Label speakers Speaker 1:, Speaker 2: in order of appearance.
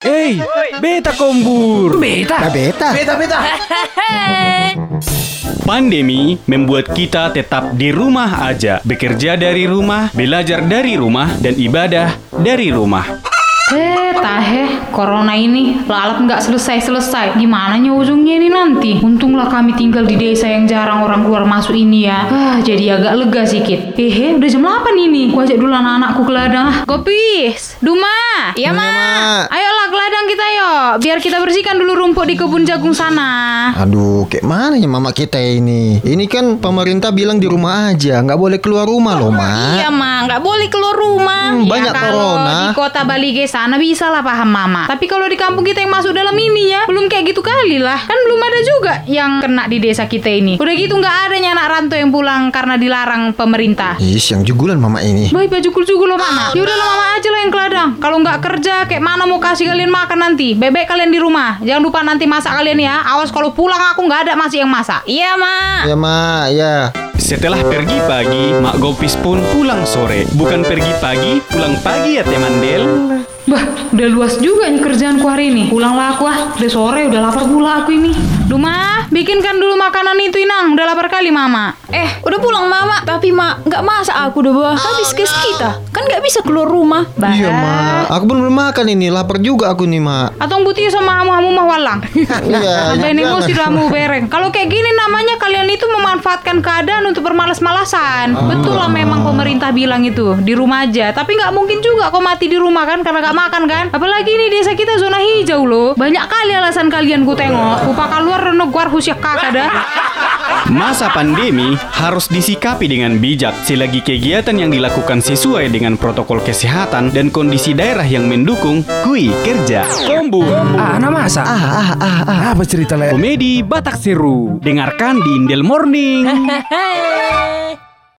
Speaker 1: Hey, beta kombur. Beta.
Speaker 2: beta.
Speaker 1: Pandemi membuat kita tetap di rumah aja, bekerja dari rumah, belajar dari rumah, dan ibadah dari rumah.
Speaker 3: Eh, taheh, corona ini lalap nggak selesai-selesai. Gimana nya ujungnya ini nanti? Untunglah kami tinggal di desa yang jarang orang keluar masuk ini ya. Ah, jadi agak lega sedikit. Hehe, udah jam 8 ini. Gua ajak dulu anak-anakku ke ladang. ah. Gopis, Duma, iya ma. Ayolah ke ladang kita yuk. Biar kita bersihkan dulu rumput di kebun jagung sana.
Speaker 2: Aduh, kayak mana ya mama kita ini? Ini kan pemerintah bilang di rumah aja, nggak boleh keluar rumah loh, Ma.
Speaker 3: Iya ma, nggak boleh keluar rumah.
Speaker 2: Ah.
Speaker 3: Iya
Speaker 2: Hmm, banyak
Speaker 3: kalau
Speaker 2: corona.
Speaker 3: di kota Bali ge sana bisa lah paham mama. Tapi kalau di kampung kita yang masuk dalam ini ya, belum kayak gitu kali lah. Kan belum ada juga yang kena di desa kita ini. Udah gitu nggak adanya anak rantau yang pulang karena dilarang pemerintah.
Speaker 2: Ih, yang jugulan mama ini.
Speaker 3: Baik baju kulcugu loh mama. Yaudah lah mama aja lah yang ke ladang. Kalau nggak kerja, kayak mana mau kasih kalian makan nanti? Bebek kalian di rumah. Jangan lupa nanti masak kalian ya. Awas kalau pulang aku nggak ada masih yang masak. Iya ma.
Speaker 2: Ya, Ma, ya.
Speaker 1: Setelah pergi pagi, Mak Gopis pun pulang sore. Bukan pergi pagi, pulang pagi ya teman Del.
Speaker 3: Bah, udah luas juga nih kerjaanku hari ini. Pulanglah aku ah, udah sore, udah lapar pula aku ini. Duma, bikinkan dulu makanan itu Inang, udah lapar kali Mama.
Speaker 4: Eh, udah pulang mama, tapi mak nggak masak aku udah bawa habis kes kita, kan nggak bisa keluar rumah.
Speaker 3: Bah.
Speaker 2: Iya, Ma. Aku belum belum makan ini, lapar juga aku nih, Ma.
Speaker 3: Atong putih iya sama hamu-hamu mah walang. Nah,
Speaker 2: Iya,
Speaker 3: Sampai ini
Speaker 2: iya.
Speaker 3: emosi hamu bereng. Kalau kayak gini namanya kalian itu memanfaatkan keadaan untuk bermalas-malasan.
Speaker 2: Ah.
Speaker 3: Betul lah memang pemerintah bilang itu di rumah aja. Tapi nggak mungkin juga kok mati di rumah kan karena nggak makan kan. Apalagi ini desa kita zona hijau loh. Banyak kali alasan kalian ku tengok. Kupa keluar renok guar husyak kakak dah.
Speaker 1: Masa pandemi harus disikapi dengan bijak selagi kegiatan yang dilakukan sesuai dengan protokol kesehatan dan kondisi daerah yang mendukung kui kerja. Kombur.
Speaker 5: Ah, nama masa. Ah, ah, ah, ah. Apa cerita le?
Speaker 1: Komedi Batak Seru. Dengarkan di Indel Morning.